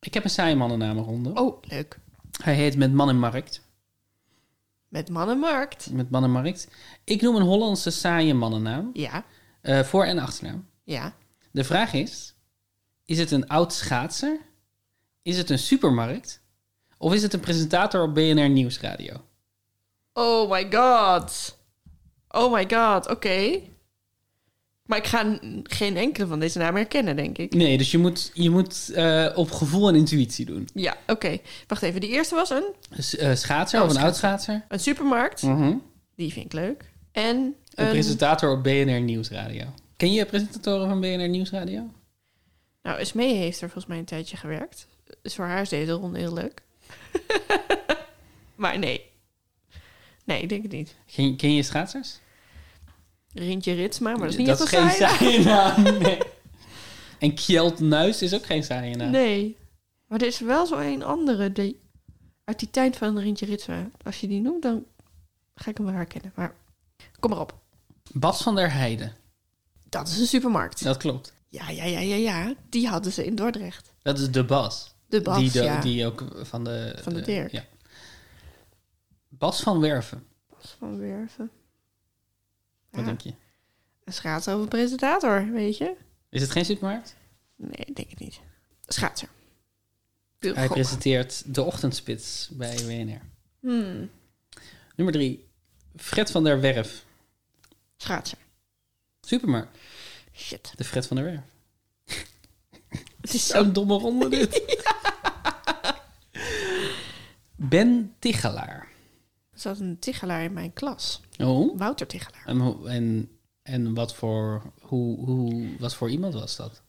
S2: Ik heb een saaie mannennamenronde.
S1: Oh, leuk.
S2: Hij heet Met Man en Markt.
S1: Met mannenmarkt.
S2: Met Man en Markt. Ik noem een Hollandse saaie mannennaam.
S1: Ja,
S2: eh, voor- en achternaam.
S1: ja.
S2: De vraag is: is het een oud schaatser? Is het een supermarkt? Of is het een presentator op BNR Nieuwsradio?
S1: Oh my god. Oh my god, oké. Maar ik ga n- geen enkele van deze namen herkennen, denk ik.
S2: Nee, dus je moet, je moet eh, op gevoel en intuïtie doen.
S1: Ja, oké. Wacht even, die eerste was een,
S2: S- eh, schaatser
S1: Oh,
S2: of een oud schaatser?
S1: een supermarkt.
S2: Mhm.
S1: Die vind ik leuk. En een,
S2: Een presentator op BNR Nieuwsradio. Ken je presentatoren van BNR Nieuwsradio?
S1: Nou, Esmee heeft er volgens mij een tijdje gewerkt. Dus voor haar is deze ronde heel leuk. maar nee. Nee, ik denk het niet.
S2: Ken, je- ken je schaatsers?
S1: Rintje Ritsma, maar dat is niet
S2: dat
S1: echt
S2: is
S1: een
S2: geen
S1: saai-
S2: saaie naam. Nee. En Kjeld Nuis is ook geen saaie naam.
S1: Nee. Maar er is wel zo een andere die uit die tijd van Rintje Ritsma. Als je die noemt, dan ga ik hem wel herkennen. Maar kom maar op.
S2: Bas van der Heijden.
S1: Dat is een supermarkt.
S2: Dat klopt.
S1: Ja, ja, ja, ja, ja. Die hadden ze in Dordrecht.
S2: Dat is de Bas.
S1: De Bas,
S2: die, de-
S1: ja.
S2: die ook van de...
S1: Van de
S2: eh,
S1: Dirk.
S2: ja. Bas van Werven,
S1: Bas van Werven.
S2: wat
S1: Ja,
S2: denk je?
S1: een schaats over presentator, weet je?
S2: Is het geen supermarkt?
S1: Nee, ik denk het niet. Schaatser.
S2: Hij
S1: Gok.
S2: presenteert de ochtendspits bij WNR.
S1: Hmm.
S2: Nummer drie, Fred van der Werf.
S1: Schaatser.
S2: Supermarkt,
S1: Shit.
S2: de Fred van der Werf.
S1: Het is zo...
S2: Zo'n domme ronde dit. Ben Tichelaar.
S1: Er zat een Tichelaar in mijn klas.
S2: Oh,
S1: Wouter Tichelaar.
S2: en, hoe- en, en wat, voor, hoe, hoe, wat voor iemand was dat?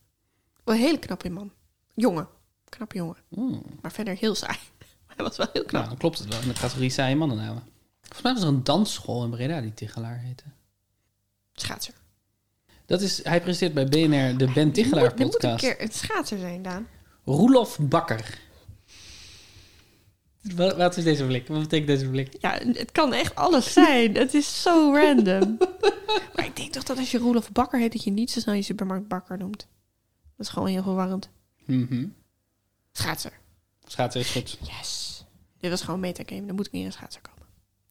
S1: Wel een hele knappe man. Jongen. Knappe jongen.
S2: Oh,
S1: Maar verder heel saai. Maar hij was wel heel knap.
S2: nou, dan klopt het wel. In de categorie saaie mannennamen. Volgens mij was er een dansschool in Breda die Tichelaar heette.
S1: Schaatser.
S2: Dat is, hij presenteert bij BNR de Ben Tichelaar
S1: Er moet, er moet een
S2: podcast.
S1: keer een schaatser zijn, Daan.
S2: Roelof Bakker. Wat, wat is deze blik? Wat betekent deze blik?
S1: Ja, het kan echt alles zijn. het is zo random. maar ik denk toch dat als je Roelof Bakker heet, dat je niet zo snel je supermarkt Bakker noemt. Dat is gewoon heel verwarrend.
S2: Mhm.
S1: Schaatser.
S2: Schaatsen is goed.
S1: Yes. Dit was gewoon een metagame. Dan moet ik niet in een schaatser komen.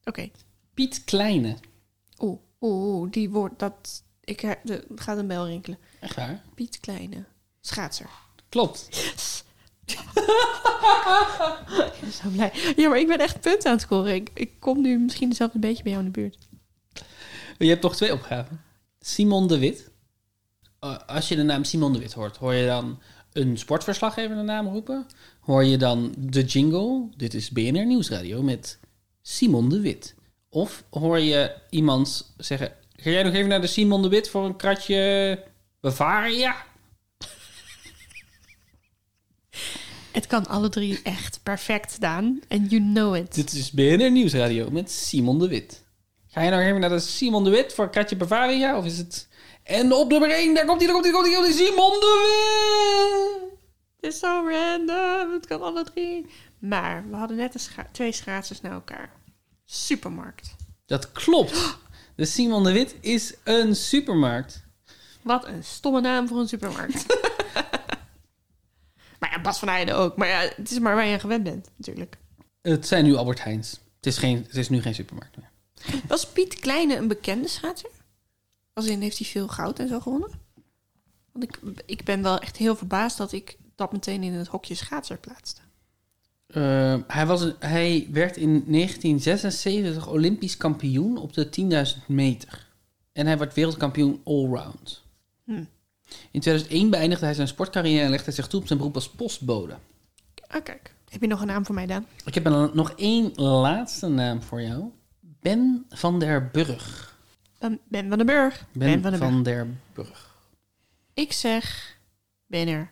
S1: Oké.
S2: Piet Kleine.
S1: Oeh, oeh, oeh, die woord, dat... Ik her- de, gaat een bel rinkelen.
S2: Echt waar?
S1: Piet Kleine. Schaatser.
S2: Klopt.
S1: Ik ben zo blij. Ja, maar ik ben echt punten aan het scoren. Ik, ik kom nu misschien zelf een beetje bij jou in de buurt.
S2: Je hebt toch twee opgaven. Simon de Wit. Eh, als je de naam Simon de Wit hoort, hoor je dan een sportverslaggever de naam roepen? Hoor je dan de jingle? Dit is BNR Nieuwsradio met Simon de Wit. Of hoor je iemand zeggen: Ga jij nog even naar de Simon de Wit voor een kratje Bavaria?
S1: Het kan alle drie echt perfect, Daan. En you know it.
S2: Dit is BNR Nieuwsradio met Simon de Wit. Ga je nou even naar de Simon de Wit voor Katje Bavaria? Of is het... En op nummer 1, daar komt hij, daar komt hij, daar komt hij, daar komt hij, Simon de Wit!
S1: Het is zo random. Het kan alle drie. Maar we hadden net een scha- twee schaatsers naar elkaar. Supermarkt.
S2: Dat klopt. De Simon de Wit is een supermarkt.
S1: Wat een stomme naam voor een supermarkt. maar ja, Bas van Heijden ook. Maar ja, het is maar waar je aan gewend bent, natuurlijk.
S2: Het zijn nu Albert Heijns. Het is, geen, het is nu geen supermarkt meer.
S1: Was Piet Kleine een bekende schaatser? Als in, heeft hij veel goud en zo gewonnen? Want ik, ik ben wel echt heel verbaasd dat ik dat meteen in het hokje schaatser plaatste.
S2: Eh, hij, was een- hij werd in 1976 Olympisch kampioen op de 10.000 meter. En hij werd wereldkampioen allround.
S1: Hm.
S2: In 2001 beëindigde hij zijn sportcarrière en legde zich toe op zijn beroep als postbode.
S1: Ah, kijk. Heb je nog een naam voor mij, Daan?
S2: Ik heb een- nog één laatste naam voor jou. Ben van der Burg.
S1: Ben, Ehm, ben van den Burg.
S2: Ben, van der Burg.
S1: Ik zeg BNR.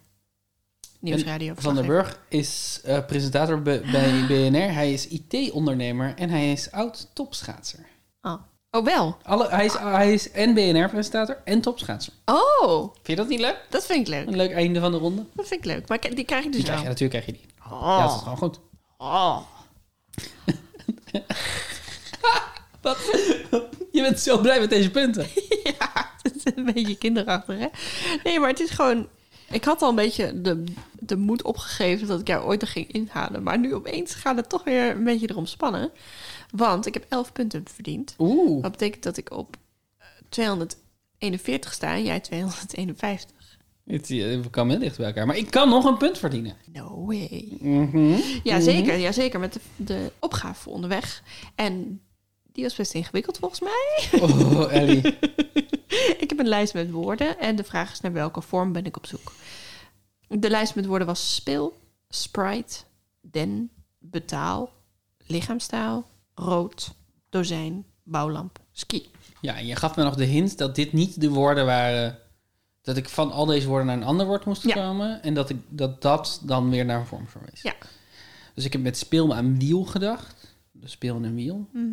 S1: Nieuwsradio.
S2: Van der Burg is eh, presentator be- bij BNR. Hij is IT-ondernemer en hij is oud-topschaatser.
S1: Oh. oh, wel.
S2: Alle, hij, is, hij is en BNR-presentator en topschaatser.
S1: Oh,
S2: Vind je dat niet leuk?
S1: dat vind ik leuk.
S2: Een leuk einde van de ronde?
S1: Dat vind ik leuk. Maar ik- die krijg ik dus
S2: Die krijg je,
S1: wel.
S2: natuurlijk krijg je die. Ja, dat is
S1: Oh.
S2: gewoon goed.
S1: oh.
S2: Je bent zo blij met deze punten.
S1: Ja, het is een beetje kinderachtig, hè? Nee, maar het is gewoon... Ik had al een beetje de, de moed opgegeven dat ik jou ooit er ging inhalen. Maar nu opeens gaat het toch weer een beetje erom spannen. Want ik heb 11 punten verdiend.
S2: Oeh.
S1: Wat betekent dat ik op eh, 241 sta en jij 251.
S2: Het, eh, we komen heel dicht bij elkaar. Maar ik kan nog een punt verdienen.
S1: No way.
S2: Mhm.
S1: Ja, zeker. Ja, zeker. Met de, de opgave voor onderweg. En die was best ingewikkeld volgens mij.
S2: Oh, Ellie.
S1: ik heb een lijst met woorden. En de vraag is naar welke vorm ben ik op zoek. De lijst met woorden was speel, sprite, den, betaal, lichaamstaal, rood, dozijn, bouwlamp, ski.
S2: Ja, en je gaf me nog de hint dat dit niet de woorden waren. Dat ik van al deze woorden naar een ander woord moest
S1: Ja.
S2: komen. En dat, ik, dat dat dan weer naar een vorm verwees.
S1: Ja.
S2: Dus ik heb met speel aan wiel gedacht. Dus speel en een wiel.
S1: Mhm.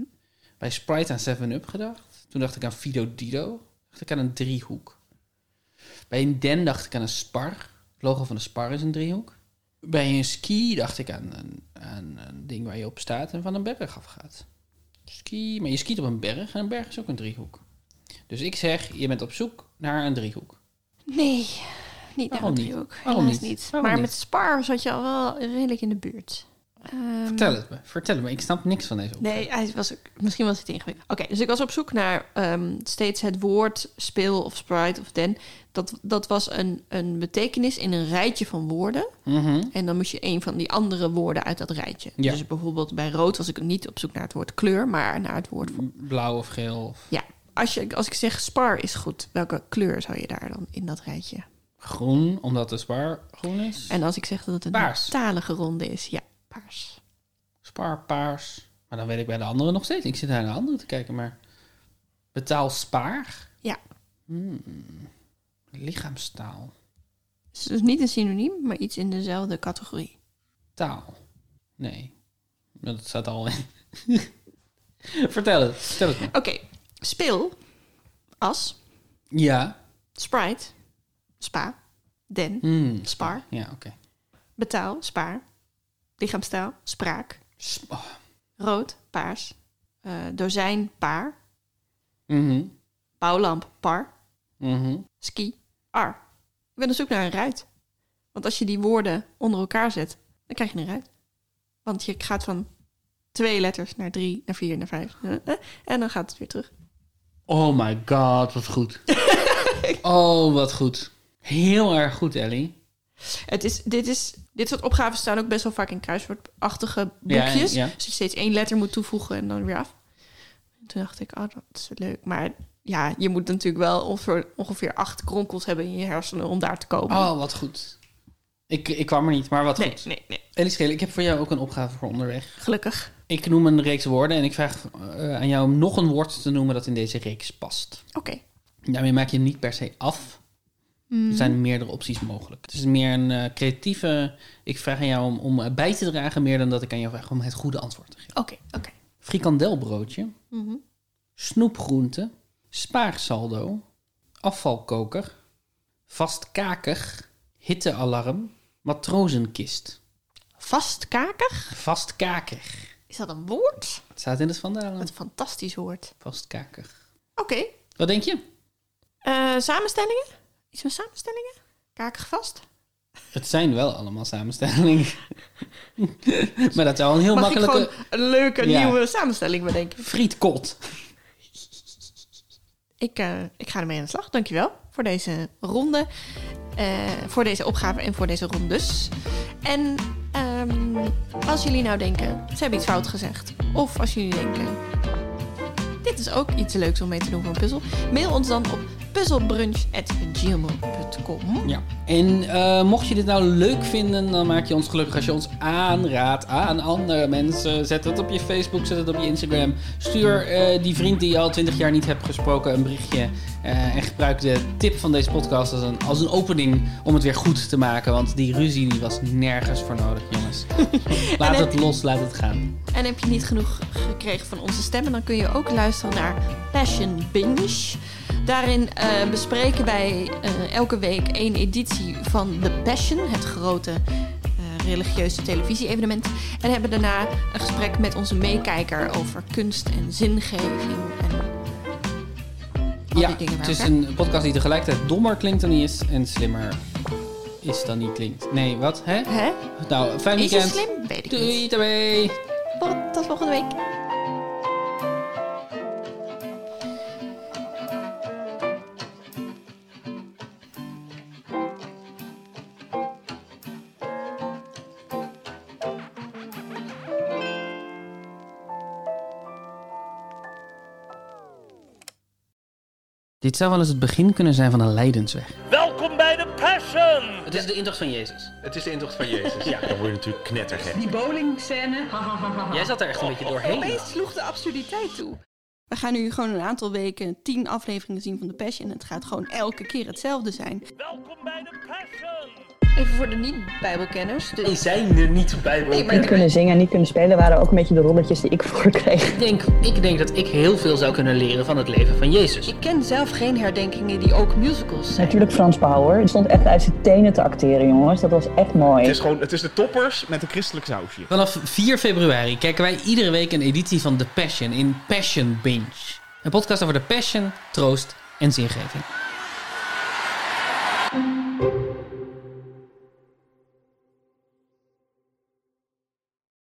S2: Bij Sprite aan 7-Up gedacht. Toen dacht ik aan Fido Dido. Dacht ik aan een driehoek. Bij een den dacht ik aan een spar. Het logo van de spar is een driehoek. Bij een ski dacht ik aan een, aan een ding waar je op staat en van een berg afgaat. Ski, maar je skiet op een berg en een berg is ook een driehoek. Dus ik zeg, je bent op zoek naar een driehoek.
S1: Nee, niet naar
S2: Waarom
S1: een
S2: niet?
S1: driehoek.
S2: Waarom
S1: Helaas
S2: niet?
S1: niet.
S2: Waarom
S1: maar
S2: niet?
S1: met Spar zat je al wel redelijk in de buurt. Ehm,
S2: Vertel het me, vertel het me. Ik snap niks van deze opdracht.
S1: Nee, hij was ook, misschien was het ingewikkeld. Oké, dus ik was op zoek naar ehm, steeds het woord speel of sprite of den. Dat, dat was een, een betekenis in een rijtje van woorden.
S2: Mhm.
S1: En dan moest je een van die andere woorden uit dat rijtje.
S2: Ja.
S1: Dus bijvoorbeeld bij rood was ik niet op zoek naar het woord kleur, maar naar het woord...
S2: Blauw of geel of
S1: Ja, als, je, als ik zeg spar is goed, welke kleur zou je daar dan in dat rijtje?
S2: groen, omdat de spar groen is.
S1: En als ik zeg dat het een
S2: Paars.
S1: talige ronde is, ja, paars.
S2: Spar, paars. Maar dan weet ik bij de andere nog steeds. Ik zit naar de andere te kijken, maar betaal spaar.
S1: Ja,
S2: Hmm. Lichaamstaal.
S1: dus het is niet een synoniem, maar iets in dezelfde categorie.
S2: Taal. Nee. Dat staat al in. vertel het. Vertel het me.
S1: Oké, speel, as,
S2: Ja.
S1: Sprite, spa, den,
S2: Hmm.
S1: spar,
S2: Ja, oké.
S1: betaal, spaar, lichaamstaal, spraak,
S2: Sp- oh.
S1: Rood, paars. Eh, dozijn, paar.
S2: Mhm,
S1: Bouwlamp, par.
S2: mhm.
S1: Ski, ar. Ik ben op zoek naar een ruit. Want als je die woorden onder elkaar zet, dan krijg je een ruit. Want je gaat van twee letters naar drie, naar vier, naar vijf. eh, eh, En dan gaat het weer terug.
S2: Oh my god, wat goed. oh, wat goed. Heel erg goed, Ellie.
S1: Het is, dit, is, dit soort opgaven staan ook best wel vaak in kruiswoordachtige boekjes.
S2: Ja, ja.
S1: Dus je steeds één letter moet toevoegen en dan weer af. En toen dacht ik, oh, dat is leuk. Maar ja, je moet natuurlijk wel ongeveer, ongeveer acht kronkels hebben in je hersenen om daar te komen.
S2: Oh, wat goed. Ik, ik kwam er niet, maar wat
S1: nee,
S2: goed.
S1: nee, nee.
S2: Ellie Schelen, ik heb voor jou ook een opgave voor onderweg.
S1: Gelukkig.
S2: Ik noem een reeks woorden en ik vraag eh, aan jou om nog een woord te noemen dat in deze reeks past.
S1: Oké.
S2: Daarmee maak je hem niet per se af. Er zijn meerdere opties mogelijk. Het is meer een eh, creatieve... Ik vraag aan jou om, om bij te dragen meer dan dat ik aan jou vraag om het goede antwoord te geven.
S1: Oké, oké.
S2: Frikandelbroodje.
S1: Mhm.
S2: snoepgroente, spaarsaldo, afvalkoker, vastkakig, hittealarm, matrozenkist.
S1: Vastkakig?
S2: Vastkakig.
S1: Is dat een woord?
S2: Het staat in het Vandalen.
S1: Wat een fantastisch woord.
S2: Vastkakig.
S1: Oké.
S2: Wat denk je?
S1: Eh, samenstellingen? Iets met samenstellingen? Kakig vast?
S2: Het zijn wel allemaal samenstellingen. maar dat zou een heel
S1: Mag
S2: makkelijke...
S1: ik gewoon een leuke
S2: Ja.
S1: nieuwe samenstelling bedenken?
S2: Frietkot.
S1: Ik, eh, ik ga ermee aan de slag. Dankjewel voor deze ronde. eh, voor deze opgave en voor deze rondes. En ehm, als jullie nou denken, ze hebben iets fout gezegd. Of als jullie denken, dit is ook iets leuks om mee te doen voor een puzzel. Mail ons dan op puzzelbrunch.gmail.com.
S2: Ja. En eh, mocht je dit nou leuk vinden, dan maak je ons gelukkig als je ons aanraadt aan andere mensen. Zet het op je Facebook, zet het op je Instagram. Stuur eh, die vriend die je al twintig jaar niet hebt gesproken een berichtje. Eh, en gebruik de tip van deze podcast als een, als een opening om het weer goed te maken. Want die ruzie die was nergens voor nodig, jongens. laat
S1: En het-
S2: het los, laat het gaan.
S1: En heb je niet genoeg gekregen van onze stemmen, dan kun je ook luisteren naar Passion Binge. Daarin eh, bespreken wij eh, elke week één editie van The Passion, het grote eh, religieuze televisie-evenement. En hebben daarna een gesprek met onze meekijker over kunst en zingeving. En al
S2: Ja,
S1: die dingen bij
S2: het is
S1: elkaar.
S2: een podcast die tegelijkertijd dommer klinkt dan hij is en slimmer is dan hij klinkt. Nee, wat? Hè?
S1: Hè?
S2: Nou, fijn
S1: Is je
S2: weekend.
S1: slim? Weet ik niet.
S2: Doei, daarbij.
S1: Tot- Tot volgende week.
S2: Dit zou wel eens het begin kunnen zijn van een lijdensweg.
S4: Welkom bij de Passion!
S2: Het is de intocht van Jezus.
S5: Het is de intocht van Jezus. Ja, dan word je natuurlijk knettergek.
S6: Die bowlingscène.
S2: Jij zat er echt een beetje doorheen.
S1: Oh, Opeens sloeg de absurditeit toe. We gaan nu gewoon een aantal weken tien afleveringen zien van The Passion. Het gaat gewoon elke keer hetzelfde zijn.
S4: Welkom bij de Passion!
S1: Even voor de niet-bijbelkenners. Dus
S2: Die zijn er niet bij.
S1: Nee,
S6: Niet
S1: maar
S6: kunnen zingen en niet kunnen spelen waren ook een beetje de rolletjes die ik vroeger kreeg.
S2: Ik denk, ik denk dat ik heel veel zou kunnen leren van het leven van Jezus.
S1: ik ken zelf geen herdenkingen die ook musicals zijn.
S6: Natuurlijk Frans Bauer. Die stond echt uit zijn tenen te acteren, jongens. Dat was echt mooi.
S7: Het is gewoon, het is de toppers met een christelijk sausje.
S2: Vanaf 4 februari kijken wij iedere week een editie van The Passion in Passion Binge. Een podcast over de passion, troost en zingeving.